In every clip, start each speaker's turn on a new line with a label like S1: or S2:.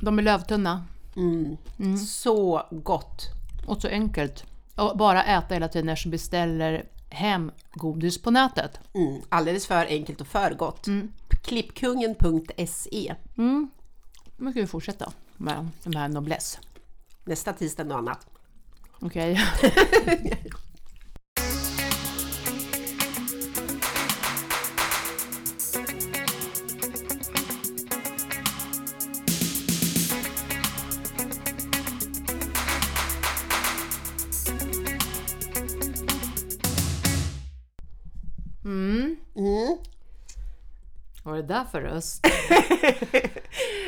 S1: De är lövtunna
S2: Mm. Så gott!
S1: och så enkelt. Och bara äta hela tiden eftersom vi beställer hem godis på nätet.
S2: Mm. Alldeles för enkelt och för gott. Klippkungen.se
S1: Nu ska vi fortsätta med de här Noblesse.
S2: Nästa tisdag något annat.
S1: Okej. Mm. Mm.
S2: Mm.
S1: Vad var det där för röst?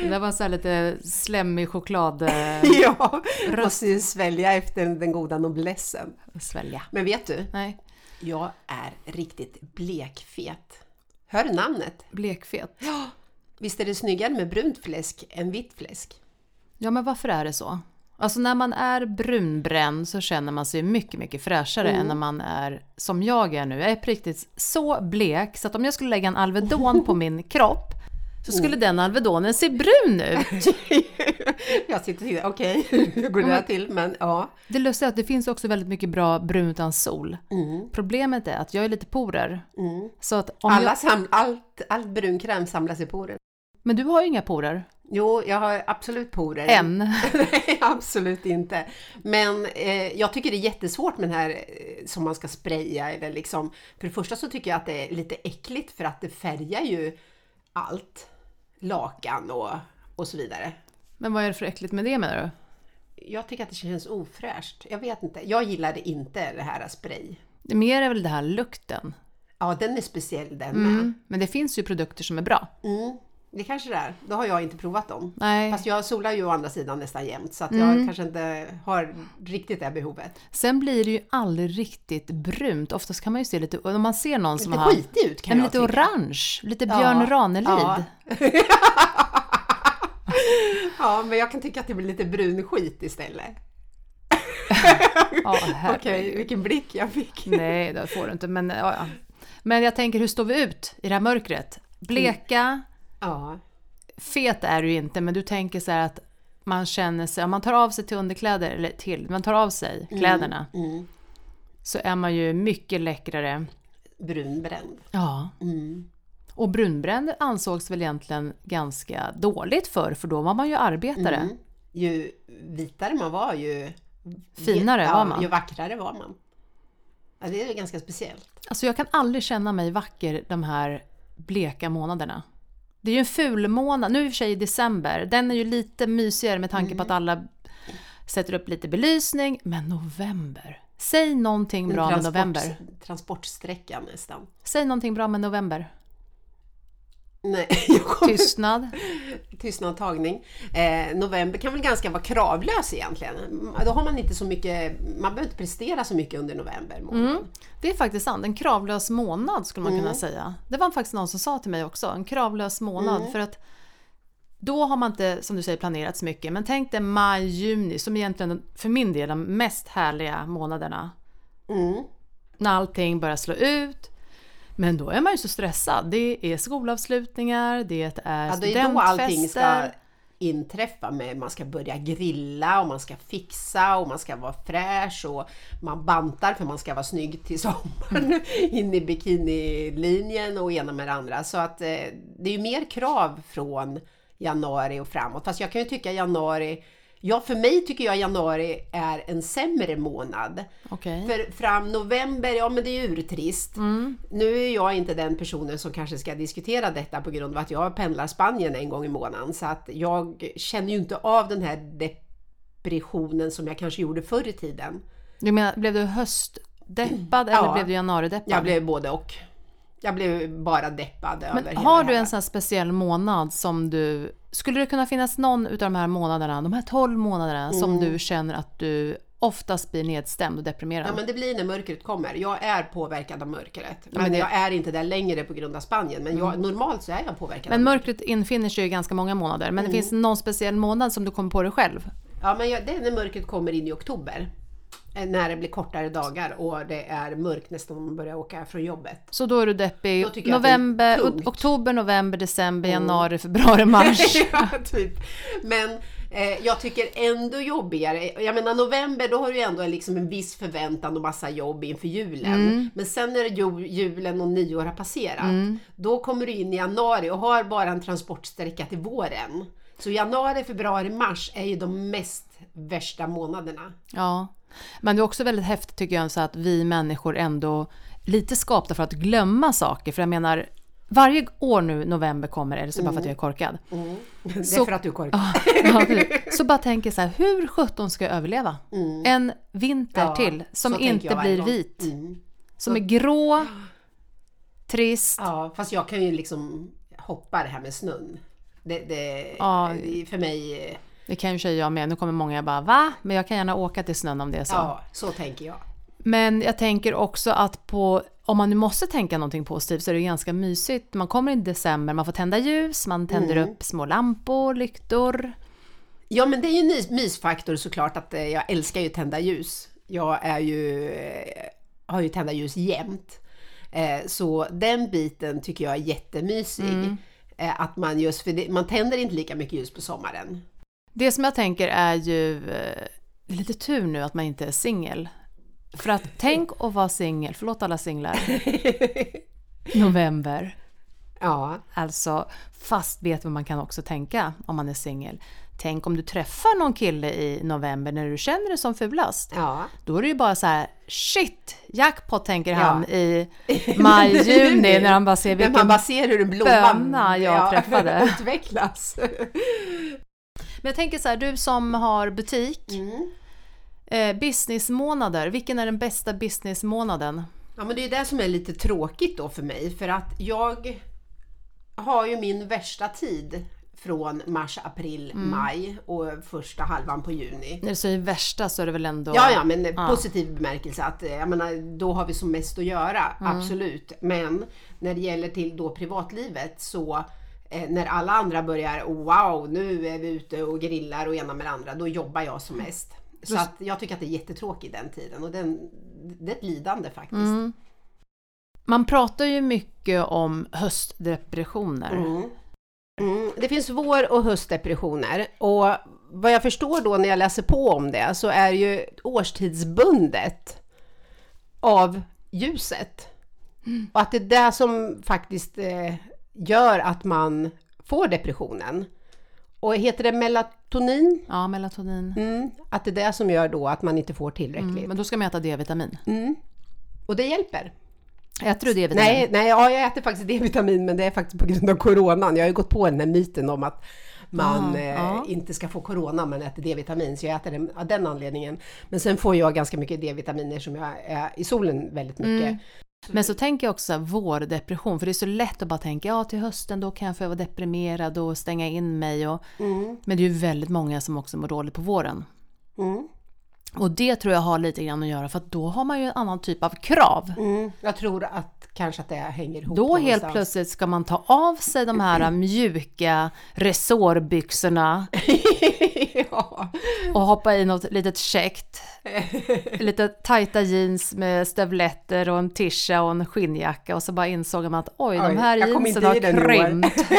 S1: det där var så här lite slemmig choklad eh,
S2: Ja, Ehm, måste ju svälja efter den goda noblessen.
S1: svälja.
S2: Men vet du,
S1: Nej,
S2: jag är riktigt blekfet. Hör du namnet?
S1: blekfet.
S2: Visst är det snyggare med brunt fläsk än vitt fläsk?
S1: Ja, men varför är det så? Alltså när man är brunbränd så känner man sig mycket, mycket fräschare än när man är som jag är nu. Jag är på riktigt så blek så att om jag skulle lägga en Alvedon på min kropp så skulle den Alvedonen se brun ut.
S2: jag sitter och tänker, okej, hur går det här till? Men ja.
S1: Det lustiga är att det finns också väldigt mycket bra brun utan sol.
S2: Mm,
S1: Problemet är att jag är lite porer. Så att om
S2: Alla
S1: jag...
S2: sam, allt, allt brunkräm samlas i porer.
S1: Men du har ju inga porer.
S2: Jo, jag har absolut porer.
S1: Än.
S2: Nej, absolut inte. Men eh, jag tycker det är jättesvårt med den här eh, som man ska spraya eller liksom. För det första så tycker jag att det är lite äckligt för att det färgar ju allt. Lakan och, och så vidare.
S1: Men vad är det för äckligt med det menar du?
S2: Jag tycker att det känns ofräscht. Jag vet inte. Jag gillar inte det här spray.
S1: Det mer är väl den här lukten.
S2: Ja, den är speciell den med.
S1: Mm. Men det finns ju produkter som är bra.
S2: Mm. Det kanske det är. Då har jag inte provat dem.
S1: Nej. Mm.
S2: Fast jag solar ju å andra sidan nästan jämt så att jag kanske inte har riktigt det här behovet.
S1: Sen blir det ju aldrig riktigt brunt. Oftast kan man ju se lite, om man ser någon som
S2: Lite
S1: har...
S2: skitig ut kan
S1: Nej, men
S2: jag
S1: lite
S2: tycka.
S1: orange, lite Björn Ranelid.
S2: Ja. Ja, men jag kan tycka att det blir lite brun skit istället.
S1: Ja,
S2: Okej,
S1: herregud.
S2: vilken blick jag fick.
S1: Nej, det får du inte. Men, ja, ja. men jag tänker, hur står vi ut i det här mörkret? Bleka,
S2: Ja,
S1: fet är du ju inte, men du tänker så här att man känner sig, om man tar av sig till underkläder, eller till, man tar av sig kläderna,
S2: mm.
S1: så är man ju mycket läckrare.
S2: brunbränd.
S1: Ja.
S2: Mm.
S1: Och brunbränd ansågs väl egentligen ganska dåligt förr, för då var man ju arbetare.
S2: Mm. Ju vitare man var ju
S1: Finare
S2: ja,
S1: var man.
S2: Ju vackrare var man. Ja, det är ju ganska speciellt.
S1: Alltså jag kan aldrig känna mig vacker de här bleka månaderna. Det är ju en ful månad. Nu i och för sig i december, den är ju lite mysigare med tanke på att alla sätter upp lite belysning. Men november. Säg någonting bra med november.
S2: Transportsträcka nästan.
S1: Säg någonting bra med november.
S2: Nej, jag kom
S1: Tystnad.
S2: tystnadtagning. Eh, november kan väl ganska vara kravlös egentligen. Då har man inte så mycket, man behöver inte prestera så mycket under november månad.
S1: Det är faktiskt sant. En kravlös månad skulle man
S2: Mm.
S1: kunna säga. Det var faktiskt någon som sa till mig också. En kravlös månad.
S2: Mm.
S1: För att då har man inte, som du säger, planerat så mycket. Men tänk dig maj, juni som egentligen för min del är de mest härliga månaderna.
S2: Mm.
S1: När allting börjar slå ut. Men då är man ju så stressad. Det är skolavslutningar, det är
S2: Ja, det är då allting ska
S1: studentfester.
S2: inträffa. Med, man ska börja grilla och man ska fixa och man ska vara fräsch och man bantar för man ska vara snygg till sommaren. In i bikinilinjen och ena med det andra. Så att eh, det är ju mer krav från januari och framåt. Fast jag kan ju tycka januari Ja, för mig tycker jag januari är en sämre månad.
S1: Okej. Mm.
S2: För fram november, ja men det är ju urtrist. Nu är jag inte den personen som kanske ska diskutera detta på grund av att jag pendlar Spanien en gång i månaden. Så att jag känner ju inte av den här depressionen som jag kanske gjorde förr i tiden.
S1: Du menar, blev du höstdeppad eller
S2: Ja.
S1: blev du januarideppad?
S2: Jag blev både och. Jag blev bara deppad över
S1: Men
S2: hela
S1: har du
S2: det
S1: en
S2: här.
S1: sån här speciell månad som du... Skulle det kunna finnas någon utav de här månaderna, de här 12 månaderna, som du känner att du oftast blir nedstämd och deprimerad?
S2: Mm. Ja men det blir när mörkret kommer. Jag är påverkad av mörkret. Men jag är inte där längre på grund av Spanien. Men jag, normalt så är jag påverkad.
S1: Mm. men
S2: av
S1: mörkret infinner sig ju i ganska många månader. Men
S2: Mm.
S1: det finns någon speciell månad som du kommer på dig själv?
S2: Ja, men jag, det är när mörkret kommer in i oktober. eh, när det blir kortare dagar och det är mörkt nästan när man börjar åka från jobbet.
S1: Så då är du deppig
S2: Då tycker jag att det är Mm.
S1: november,
S2: tungt.
S1: oktober, november, december, januari, februari, mars.
S2: ja, typ. Men eh, jag tycker ändå jobbigare. Jag menar november, då har du ju ändå liksom en viss förväntan och massa jobb inför julen.
S1: Mm.
S2: Men sen när ju- julen och nyår har passerat, då kommer du in i januari och har bara en transportsträcka till våren. Så januari, februari, mars är ju de mest värsta månaderna.
S1: Ja. Men det är också väldigt häftigt tycker jag så att vi människor ändå lite skapta för att glömma saker. För jag menar, varje år nu november kommer, eller så bara för
S2: Mm.
S1: att jag är korkad.
S2: Det är
S1: Så-
S2: för att du är korkad.
S1: Ja, precis. så bara tänker så här, hur sjutton ska jag överleva? En vinter
S2: Mm. Ja,
S1: till som
S2: så tänker
S1: inte
S2: jag varje
S1: blir
S2: gång.
S1: vit.
S2: Mm.
S1: Som är grå, trist.
S2: Ja, fast jag kan ju liksom hoppa det här med snön. Det, det,
S1: Ja.
S2: det- för mig, eh,
S1: Det kan ju tjejer jag med. Nu kommer många bara va? Men jag kan gärna åka till snön om det är så.
S2: ja, så tänker jag.
S1: Men jag tänker också att på, om man nu måste tänka någonting positivt så är det ju ganska mysigt. Man kommer i december, man får tända ljus, man tänder
S2: Mm.
S1: upp små lampor, lyktor.
S2: Ja, men det är ju en nys- mysfaktor såklart att eh, jag älskar ju tända ljus. Jag är ju, eh, har ju tända ljus jämt. Eh, Så den biten tycker jag är jättemysig. Eh, Att man just, för det, man tänder inte lika mycket ljus på sommaren.
S1: Det som jag tänker är ju, eh, det är lite tur nu att man inte är singel. För att tänk att vara singel, förlåt alla singlar, november.
S2: ja,
S1: Alltså, fast vet vad man kan också tänka om man är singel. Tänk om du träffar någon kille i november när du känner dig som fulast.
S2: ja.
S1: Då är det ju bara så här, shit, jackpot tänker han i maj, juni när han bara ser
S2: Men
S1: vilken...
S2: man bara ser hur en blomma
S1: böna jag träffade.
S2: utvecklas.
S1: Men jag tänker så här, du som har butik,
S2: Mm.
S1: eh, businessmånader, vilken är den bästa businessmånaden?
S2: Ja men det är det som är lite tråkigt då för mig för att jag har ju min värsta tid från mars, april, maj och första halvan på juni.
S1: När du säger värsta så är det väl ändå...
S2: Ja, ja, men positiv bemärkelse att eh, jag menar, då har vi som mest att göra, absolut. Men när det gäller till då privatlivet så eh, när alla andra börjar, wow, nu är vi ute och grillar och ena med det andra, då jobbar jag som mest. Så att jag tycker att det är jättetråkigt den tiden och den, det är ett lidande faktiskt.
S1: Mm. Man pratar ju mycket om höstdepressioner.
S2: Mm. Mm. Det finns vår och höstdepressioner och vad jag förstår då när jag läser på om det så är ju årstidsbundet av ljuset. Och att det är det som faktiskt eh, gör att man får depressionen. Och heter det melatonin?
S1: Ja, melatonin. Mm,
S2: Mm. Att det är det som gör då att man inte får tillräckligt.
S1: Men då ska man äta D-vitamin.
S2: Mm. Och det hjälper.
S1: Äter du D-vitamin?
S2: Nej, nej ja, jag äter faktiskt D-vitamin men det är faktiskt på grund av coronan. Jag har ju gått på den här myten om att man
S1: Ah,
S2: eh,
S1: ja.
S2: inte ska få corona om man äter D-vitamin. Så jag äter den av den anledningen. Men sen får jag ganska mycket D-vitaminer som jag är i solen väldigt mycket.
S1: Men så tänker jag också så här, vårdepression, för det är så lätt att bara tänka ja till hösten då kan jag få vara deprimerad och stänga in mig. Och, Men det är ju väldigt många som också mår dåligt på våren.
S2: Mm.
S1: Och det tror jag har lite grann att göra för att då har man ju en annan typ av krav.
S2: Mm. Jag tror att kanske att det hänger ihop.
S1: Då helt
S2: någonstans.
S1: plötsligt ska man ta av sig de här mjuka resårbyxorna
S2: ja.
S1: och hoppa i något litet käckt. Lite tajta jeans med stövletter och en tisha och en skinnjacka och så bara insåg man att oj,
S2: Oj,
S1: de här
S2: jag kom
S1: jeansen
S2: inte
S1: har
S2: i den i år.
S1: krympt.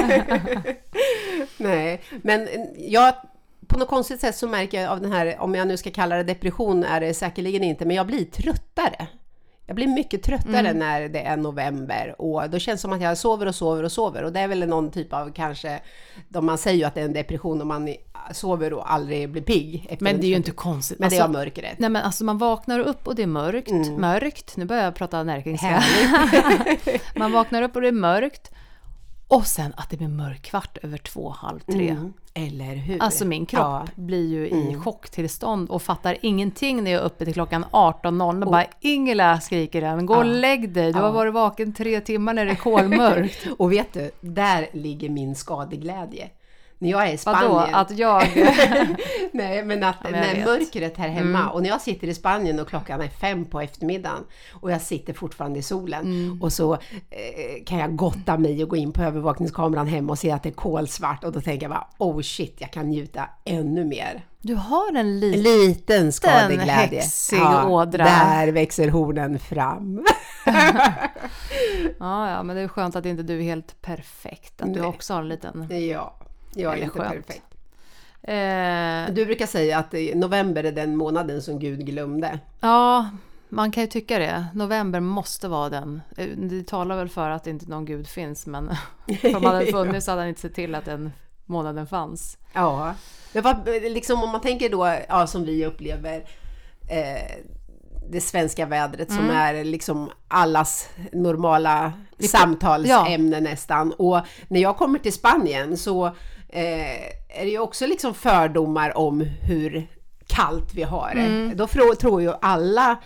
S2: Nej, men eh, jag på något konstigt sätt så märker jag av den här, om jag nu ska kalla det depression är det säkerligen inte, men jag blir tröttare. Jag blir mycket tröttare
S1: Mm.
S2: när det är november och då känns det som att jag sover och sover och sover och det är väl någon typ av kanske, de man säger ju att det är en depression om man sover och aldrig blir pigg. efter
S1: Men
S2: en
S1: det är ju
S2: trött-
S1: inte konstigt.
S2: Men det är Mm. av
S1: Alltså,
S2: mörkret.
S1: nej men alltså man vaknar upp och det är mörkt, mörkt, nu börjar jag prata närkingska. man vaknar upp och det är mörkt. Och sen att det blir mörkt kvart över två, halv tre.
S2: Mm. Eller hur?
S1: Alltså min kropp blir ju i chocktillstånd och fattar ingenting när jag är uppe till klockan 18.00 och bara Ingela skriker den, gå och lägg dig, du har varit vaken tre timmar när det är kolmörkt.
S2: Och vet du, där ligger min skadeglädje. när jag är i Spanien.
S1: Vadå? Att jag...
S2: nej, men att
S1: men jag
S2: när
S1: vet. Mm.
S2: mörkret här hemma och när jag sitter i Spanien och klockan är fem på eftermiddagen och jag sitter fortfarande i solen
S1: Mm.
S2: och så eh, kan jag gotta mig och gå in på övervakningskameran hem och se att det är kolsvart och då tänker jag bara oh shit, jag kan njuta ännu mer.
S1: Du har en
S2: En
S1: liten...
S2: liten skadeglädje.
S1: häxig ådra.
S2: Där växer hornen fram.
S1: Ja, ja, men det är skönt att inte du är helt perfekt. Att du
S2: Nej.
S1: också har en liten...
S2: ja, jag
S1: Det
S2: är
S1: är
S2: inte
S1: skönt.
S2: perfekt.
S1: Eh,
S2: Du brukar säga att eh, november är den månaden som Gud glömde.
S1: ja, man kan ju tycka det. November måste vara den. Eh, Det talar väl för att inte någon gud finns, men om han hade funnits så hade han inte sett till att den månaden fanns.
S2: Ja, men vad, liksom om man tänker då, ja, som vi upplever eh, det svenska vädret som
S1: Mm.
S2: är liksom allas normala samtalsämne nästan. Och när jag kommer till Spanien så eh, är det ju också liksom fördomar om hur kallt vi har det.
S1: Mm.
S2: Då tror, tror ju alla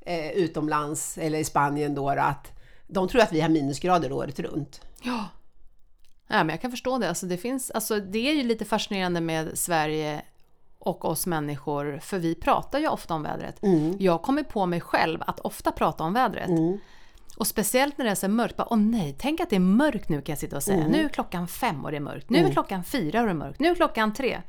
S2: eh, utomlands eller i Spanien då att de tror att vi har minusgrader året runt.
S1: Ja. ja men jag kan förstå det. Alltså, det, finns, alltså, det är ju lite fascinerande med Sverige och oss människor, för vi pratar ju ofta om vädret.
S2: Mm.
S1: Jag kommer på mig själv att ofta prata om vädret. Och speciellt när det är så mörkt, bara, åh nej, tänk att det är mörkt nu kan jag sitta och säga. Nu är klockan fem och det är mörkt, nu är klockan fyra och det är mörkt, nu är klockan tre.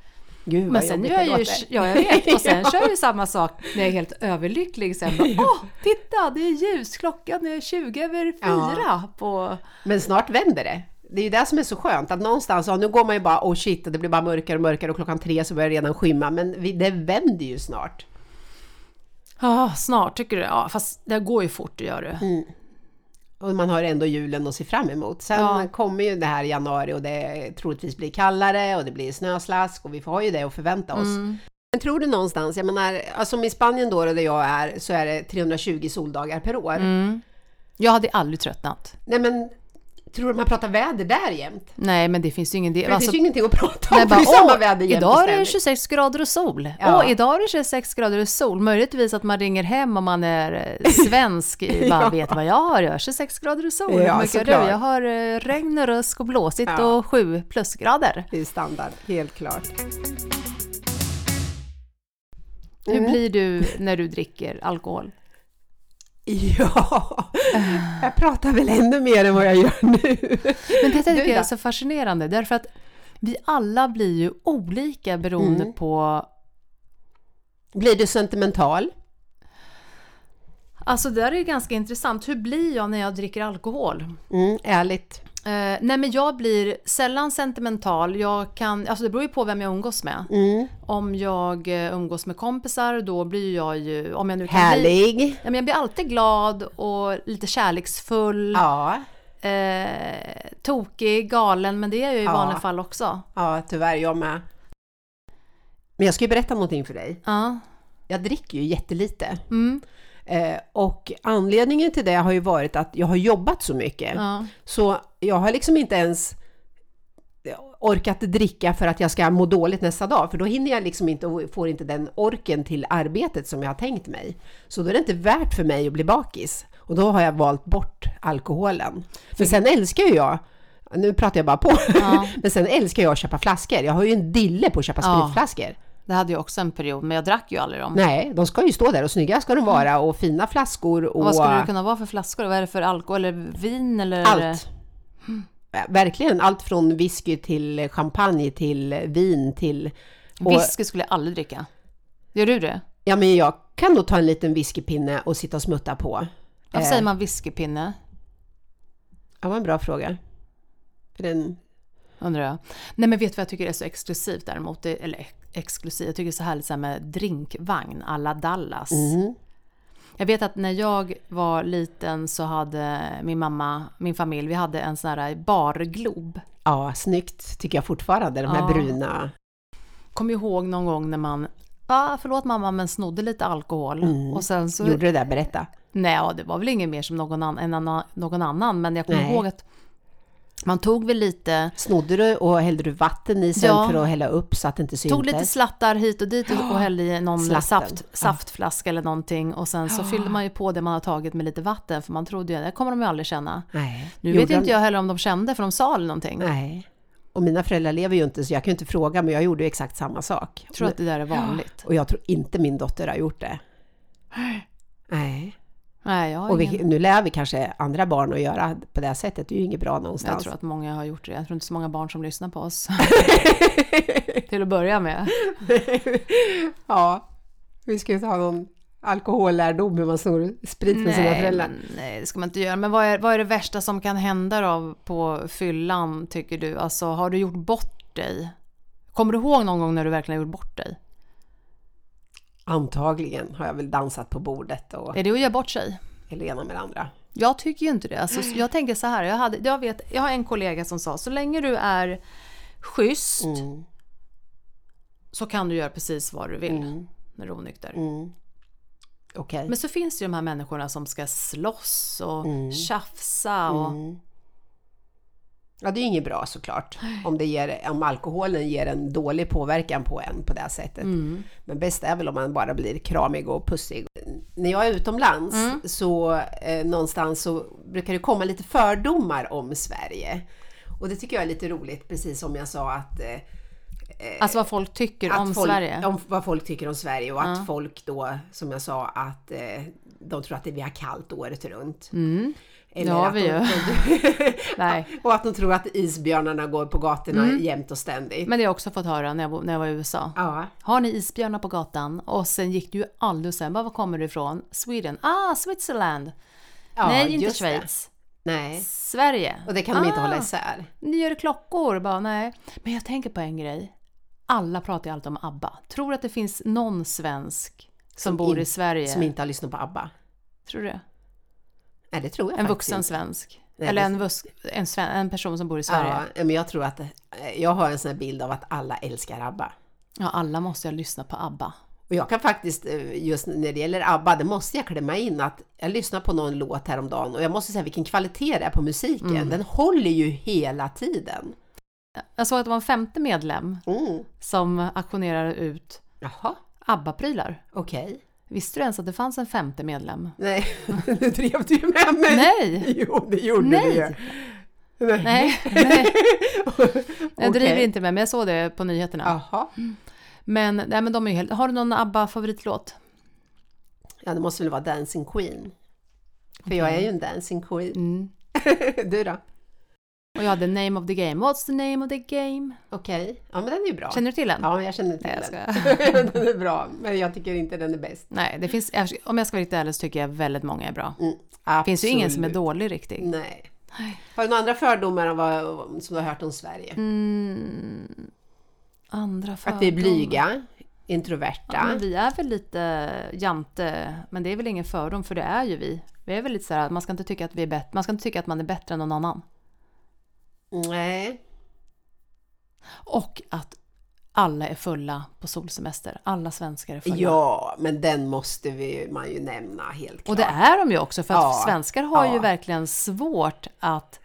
S2: Gud vad
S1: Men sen
S2: jobbigt
S1: gör
S2: det
S1: jag ju,
S2: låter.
S1: ja jag vet, och sen kör jag ju samma sak när jag är helt överlycklig sen. Bara, Åh, titta det är ljus, klockan är 20 över
S2: Ja.
S1: fyra på
S2: Men snart vänder det. Det är ju det som är så skönt, att någonstans, ja, nu går man ju bara oh shit, och det blir bara mörkare och mörkare och klockan tre så börjar det redan skymma, men vi, det vänder ju snart.
S1: Ja, snart tycker du. Ja, fast det går ju fort, det gör du.
S2: Och man har ändå julen att se fram emot. Sen
S1: Ja.
S2: kommer ju det här januari och det troligtvis blir kallare och det blir snöslask och vi får ju det att förvänta oss.
S1: Mm.
S2: Men tror du någonstans, jag menar, alltså som i Spanien då där jag är, så är det 320 soldagar per år.
S1: Mm. Jag hade aldrig tröttnat.
S2: Nej men, tror du man pratar väder där jämt?
S1: Nej, men det finns ju ingen del.
S2: Det finns ju ingenting att prata om,
S1: nej,
S2: för det är
S1: Alltså, bara,
S2: samma
S1: "Åh,
S2: väder jämt och
S1: Idag är det
S2: ständigt."
S1: 26 grader och sol.
S2: Ja.
S1: Åh, idag är det 26 grader och sol. Möjligtvis att man ringer hem om man är eh, svensk. i- Bara
S2: Ja.
S1: vet vad jag har. Jag har 26 grader och sol.
S2: Ja,
S1: Hur mycket har du?
S2: såklart.
S1: Jag har eh, regn och rusk och blåsigt
S2: Ja.
S1: och 7 plusgrader.
S2: Det är standard, helt klart.
S1: Hur blir du när du dricker alkohol?
S2: Ja, jag pratar väl ännu mer än vad jag gör nu.
S1: Men det
S2: Du
S1: tycker jag är
S2: då?
S1: så fascinerande därför att vi alla blir ju olika beroende på
S2: Blir du sentimental?
S1: Alltså det där är ju ganska intressant. Hur blir jag när jag dricker alkohol?
S2: Mm, ärligt.
S1: Eh, nej men jag blir sällan sentimental. Jag kan, alltså det beror ju på vem jag umgås med.
S2: Mm.
S1: Om jag eh, umgås med kompisar då blir jag ju, om jag nu kan bli...
S2: Härlig.
S1: Ja, men jag blir alltid glad och lite kärleksfull,
S2: Ja,
S1: eh, tokig, galen, men det är jag ju i
S2: Ja.
S1: vanliga fall också.
S2: ja, tyvärr jag med. Men jag ska ju berätta någonting för dig.
S1: Ja.
S2: Jag dricker ju jättelite.
S1: Mm.
S2: Eh, och anledningen till det har ju varit att jag har jobbat så mycket.
S1: Ja.
S2: Så jag har liksom inte ens orkat dricka för att jag ska må dåligt nästa dag, för då hinner jag liksom inte och får inte den orken till arbetet som jag har tänkt mig. Så då är det inte värt för mig att bli bakis. Och då har jag valt bort alkoholen. Men sen älskar ju jag, nu pratar jag bara på,
S1: Ja.
S2: men sen älskar jag att köpa flaskor. Jag har ju en dille på att köpa
S1: Ja.
S2: spritflaskor.
S1: Det hade jag också en period, men jag drack ju aldrig dem.
S2: Nej, de ska ju stå där och snygga ska de vara och fina flaskor och
S1: Vad skulle det kunna vara för flaskor? Vad är det för alkohol? Eller vin? Eller?
S2: Allt. Äh, Verkligen allt från whisky till champagne till vin till... Och,
S1: Whisky skulle jag aldrig dricka. Gör du det?
S2: ja men jag kan nog ta en liten whiskypinne och sitta och smutta på.
S1: Varför
S2: Eh.
S1: säger man whiskypinne?
S2: Ja, var en bra fråga. För den,
S1: Undrar jag. Nej men vet du vad jag tycker är så exklusivt däremot? Det, eller ex- exklusivt, jag tycker det är så härligt så här med drinkvagn alla Dallas.
S2: Mm.
S1: Jag vet att när jag var liten så hade min mamma, min familj, vi hade en sån här barglob.
S2: ja, snyggt tycker jag fortfarande, de här
S1: Ja.
S2: bruna.
S1: Kommer ihåg någon gång när man, ah, förlåt mamma men snodde lite alkohol.
S2: Mm.
S1: Och sen så
S2: Gjorde du det där? Berätta.
S1: Nej, ja, det var väl ingen mer som någon, an, en annan, någon annan, men jag kommer
S2: Nej.
S1: ihåg att man tog väl lite,
S2: Snodde du och hällde du vatten i sen
S1: Ja.
S2: för att hälla upp så att det inte syntes?
S1: tog lite slattar hit och dit och, och hällde i någon
S2: Slatten.
S1: saft, saftflaska eller någonting och sen så fyllde man ju på det man har tagit med lite vatten för man trodde ju, det kommer de ju aldrig känna.
S2: Nej.
S1: Nu
S2: Gjorde
S1: vet
S2: de-
S1: inte jag heller om de kände för de sa aldrig någonting.
S2: Nej. Och mina föräldrar lever ju inte så jag kan ju inte fråga men jag gjorde ju exakt samma sak.
S1: Jag tror att det där är vanligt.
S2: Och jag tror inte min dotter har gjort det. Nej.
S1: Nej, jag har
S2: Och
S1: ingen-
S2: vi, nu lär vi kanske andra barn att göra på det här sättet. Det är ju inget bra någonstans.
S1: Jag tror att många har gjort det. Jag tror inte så många barn som lyssnar på oss. Till att börja med.
S2: ja, vi ska ju inte ha någon alkoholllärdom hur man snor sprit med sina föräldrar.
S1: men, nej, det ska man inte göra. Men vad är, vad är det värsta som kan hända då på fyllan tycker du? Alltså har du gjort bort dig? Kommer du ihåg någon gång när du verkligen har gjort bort dig?
S2: Antagligen har jag väl dansat på bordet och
S1: Är det att göra bort sig?
S2: eller ena med det andra.
S1: Jag tycker ju inte det. Alltså, jag tänker så här, jag, hade, jag, vet, jag har en kollega som sa så länge du är schysst
S2: Mm,
S1: så kan du göra precis vad du vill
S2: mm,
S1: när du är onykter.
S2: mm. Okej.
S1: Men så finns det ju de här människorna som ska slåss och
S2: Mm.
S1: tjafsa och
S2: Mm. Ja, det är ju inget bra såklart. Om, det ger, om alkoholen ger en dålig påverkan på en på det här sättet.
S1: Mm.
S2: Men bäst är väl om man bara blir kramig och pussig. När jag är utomlands
S1: Mm.
S2: så eh, någonstans så brukar det komma lite fördomar om Sverige. Och det tycker jag är lite roligt, precis som jag sa att eh,
S1: Alltså vad folk tycker
S2: att
S1: om
S2: folk,
S1: Sverige.
S2: Om vad folk tycker om Sverige och att folk då, som jag sa, att eh, de tror att det- vi har kallt året runt.
S1: Mm.
S2: Eller
S1: Det har
S2: att
S1: vi
S2: de,
S1: ju.
S2: de-
S1: Nej. Mm.
S2: och att de tror att isbjörnarna går på gatorna jämt och ständigt.
S1: Men det har jag också fått höra när jag, bo- när jag var i USA.
S2: ja.
S1: Har ni isbjörnar på gatan? Och sen gick det ju aldrig sen, bara var kommer du ifrån? Sweden. Ah, Switzerland.
S2: ja,
S1: Nej, inte
S2: just det.
S1: Schweiz.
S2: Nej,
S1: Sverige.
S2: och det kan de inte
S1: Ah.
S2: hålla isär.
S1: Ni gör klockor. Bara, nej. Men jag tänker på en grej. Alla pratar ju alltid om ABBA. Tror att det finns någon svensk som, bor
S2: in-
S1: i Sverige?
S2: Som inte har lyssnat på ABBA.
S1: Tror du det?
S2: Nej, det tror jag
S1: En
S2: faktiskt
S1: vuxen
S2: inte.
S1: svensk?
S2: Nej,
S1: Eller
S2: det-
S1: en, vux, en, sven, en person som bor i Sverige? Ja,
S2: Ja, men jag tror att, eh, jag har en sån här bild av att alla älskar ABBA.
S1: alla måste ju lyssna på ABBA.
S2: Och jag kan faktiskt, eh, just när det gäller ABBA, det måste jag klämma in att jag lyssnade på någon låt häromdagen och jag måste säga vilken kvalitet det är på musiken. Den håller ju hela tiden.
S1: Jag såg att det var en femte medlem
S2: Mm.
S1: som auktionerade ut
S2: Jaha,
S1: ABBA-prylar.
S2: okej.
S1: Visste du ens att det fanns en femte medlem?
S2: Nej, nu drev du ju med mig.
S1: Nej!
S2: Jo, det gjorde
S1: Nej.
S2: du ju. Nej.
S1: Nej, nej. jag
S2: Okej.
S1: driver inte med, men jag såg det på nyheterna.
S2: Jaha.
S1: Men, nej, men de är ju helt... Har du någon ABBA-favoritlåt?
S2: Ja, det måste väl vara Dancing Queen. För jag är ju en Dancing Queen.
S1: Mm.
S2: du då?
S1: Och jag hade Name of the Game. What's the name of the game?
S2: Okej. Ja, men den är ju bra.
S1: Känner du till den?
S2: Ja, men jag känner till
S1: Nej, jag
S2: den. den är bra, men jag tycker inte den är bäst.
S1: Nej, det finns, om jag ska vara riktigt ärlig så tycker jag väldigt många är bra.
S2: Mm,
S1: Det finns ju ingen som är
S2: absolut.
S1: dålig riktigt.
S2: Nej. Har du några andra fördomar om vad, som du har hört om Sverige?
S1: Mm, andra fördomar.
S2: Att vi är blyga, introverta.
S1: Ja, men vi är väl lite jante, men det är väl ingen fördom för det är ju vi. Vi är väl lite så här att man ska inte tycka att vi är bättre, man ska inte tycka att man är bättre än någon annan.
S2: Nej.
S1: Och att alla är fulla på solsemester. Alla svenskar är fulla.
S2: Ja, men den måste vi, man ju nämna helt klart.
S1: Och det är de ju också, för att
S2: Ja,
S1: svenskar har ju
S2: ja.
S1: verkligen svårt att...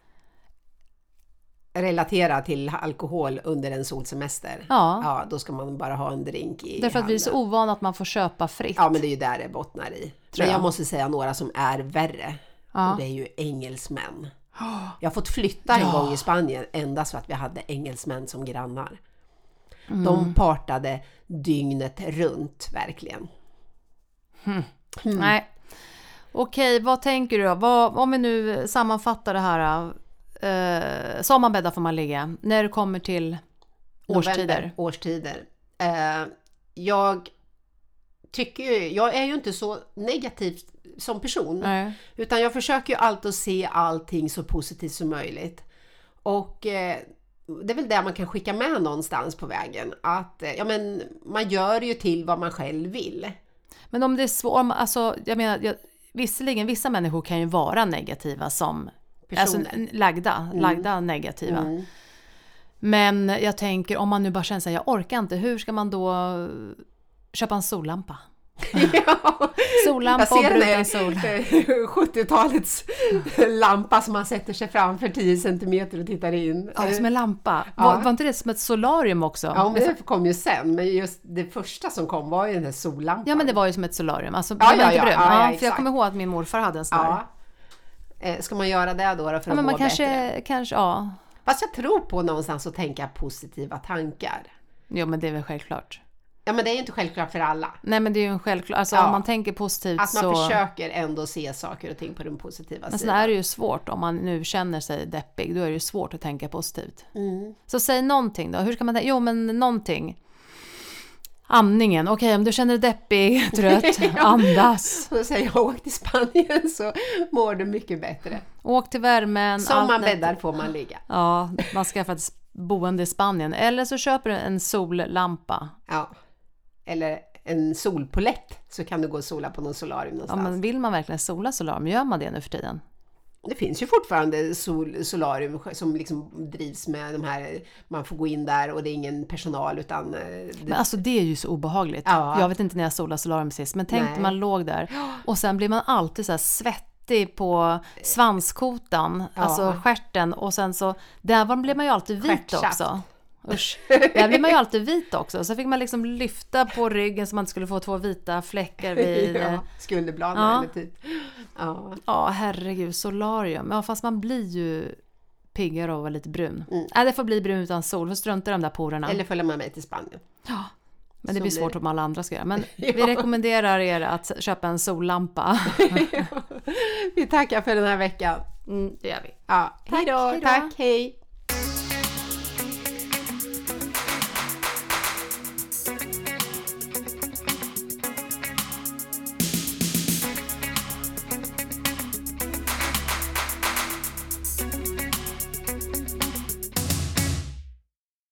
S2: Relatera till alkohol under en solsemester.
S1: Ja,
S2: Ja, då ska man bara ha en drink i
S1: därför att vi är så
S2: handen.
S1: ovana att man får köpa fritt.
S2: Ja, men det är ju där det bottnar i. men jag,
S1: jag.
S2: måste säga några som är värre.
S1: Ja.
S2: Och det är ju engelsmän. Jag har fått flytta en gång i Spanien endast för att vi hade engelsmän som grannar.
S1: Mm.
S2: De partade dygnet runt verkligen.
S1: Hm.
S2: Mm.
S1: Nej. Okej, vad tänker du då? Vad, om vi nu sammanfattar det här. Eh, som man bäddar får man ligga. När det kommer till årstider.
S2: November, Mm. årstider. Eh, jag tycker ju, jag är ju inte så negativ som person.
S1: Nej.
S2: Utan jag försöker ju alltid att se allting så positivt som möjligt. Och eh, det är väl det man kan skicka med någonstans på vägen. Att eh, ja, men man gör ju till vad man själv vill.
S1: Men om det är svårt, om- alltså jag menar, jag, visserligen vissa människor kan ju vara negativa som alltså,
S2: Personer.
S1: n- lagda,
S2: Mm.
S1: lagda negativa. Men jag tänker om man nu bara känner sig jag orkar inte, hur ska man då eh, köpa en sollampa?
S2: ja.
S1: Sollampa och bruten sol.
S2: 70-talets eh, lampa som man sätter sig framför 10 centimeter och tittar in.
S1: Ja, som en lampa.
S2: Ja.
S1: Var, var inte det som ett solarium också?
S2: Ja, men det kom ju sen, men just det första som kom var ju den här sollampan.
S1: Ja men det var ju som ett solarium, alltså
S2: Ja,
S1: det var
S2: ja,
S1: inte
S2: ja.
S1: brun.
S2: Ja, ja,
S1: Ja, för jag
S2: exakt.
S1: kommer ihåg att min morfar hade en sån där.
S2: Ja. Eh, Ska man göra det då, då för
S1: Ja,
S2: att
S1: men man
S2: må bättre?
S1: kanske, kanske, ja.
S2: Fast jag tror på någonstans att tänka positiva tankar.
S1: Jo men det är väl självklart.
S2: Ja men det är ju inte självklart för alla.
S1: Nej men det är ju en självklart, alltså
S2: Ja.
S1: om man tänker positivt
S2: Att man
S1: så... Alltså,
S2: försöker ändå se saker och ting på den positiva
S1: Men sen
S2: sidan.
S1: är det ju svårt om man nu känner sig deppig, då är det ju svårt att tänka positivt. Så säg någonting då, hur ska man tänka? Jo men någonting. Amningen, okej om du känner dig deppig, trött, andas.
S2: Så säger jag, åk till Spanien så mår du mycket bättre.
S1: Åk till värmen.
S2: Som
S1: allt
S2: man
S1: det-
S2: bäddar får man ligga.
S1: Ja, man skaffar ett boende i Spanien. Eller så köper du en sollampa.
S2: Ja. Eller en solpolett så kan du gå och sola på någon solarium
S1: Ja,
S2: någonstans.
S1: men vill man verkligen sola solarium? Gör man det nu för tiden?
S2: Det finns ju fortfarande sol, solarium som liksom drivs med de här, man får gå in där och det är ingen personal utan eh, det,
S1: Men alltså det är ju så obehagligt.
S2: Ja.
S1: Jag vet inte när jag solade solarium sist, men tänk
S2: Nej.
S1: när man låg där och sen blir man alltid så här svettig på svanskotan, alltså stjärten och sen så, där blev man ju alltid vit
S2: Stjärtsaft.
S1: också. Usch. Där blev man ju alltid vit också. Så fick man liksom lyfta på ryggen så man inte skulle få två vita fläckar vid... eh,
S2: ja, skulderbladen
S1: Ja.
S2: eller typ. Ja.
S1: Ja, herregud, solarium. Ja, fast man blir ju piggare av att vara lite brun.
S2: Mm.
S1: Nej, det får bli brun utan sol. Får strunta i de där porerna.
S2: Eller följa med mig till Spanien.
S1: Men det
S2: så
S1: blir
S2: blir
S1: svårt om alla andra ska göra. Men
S2: Ja.
S1: vi rekommenderar er att köpa en sollampa.
S2: Vi tackar för den här veckan.
S1: Mm, det gör vi.
S2: Ja.
S1: Tack,
S2: hej då!
S1: hej då.
S2: Tack, hej!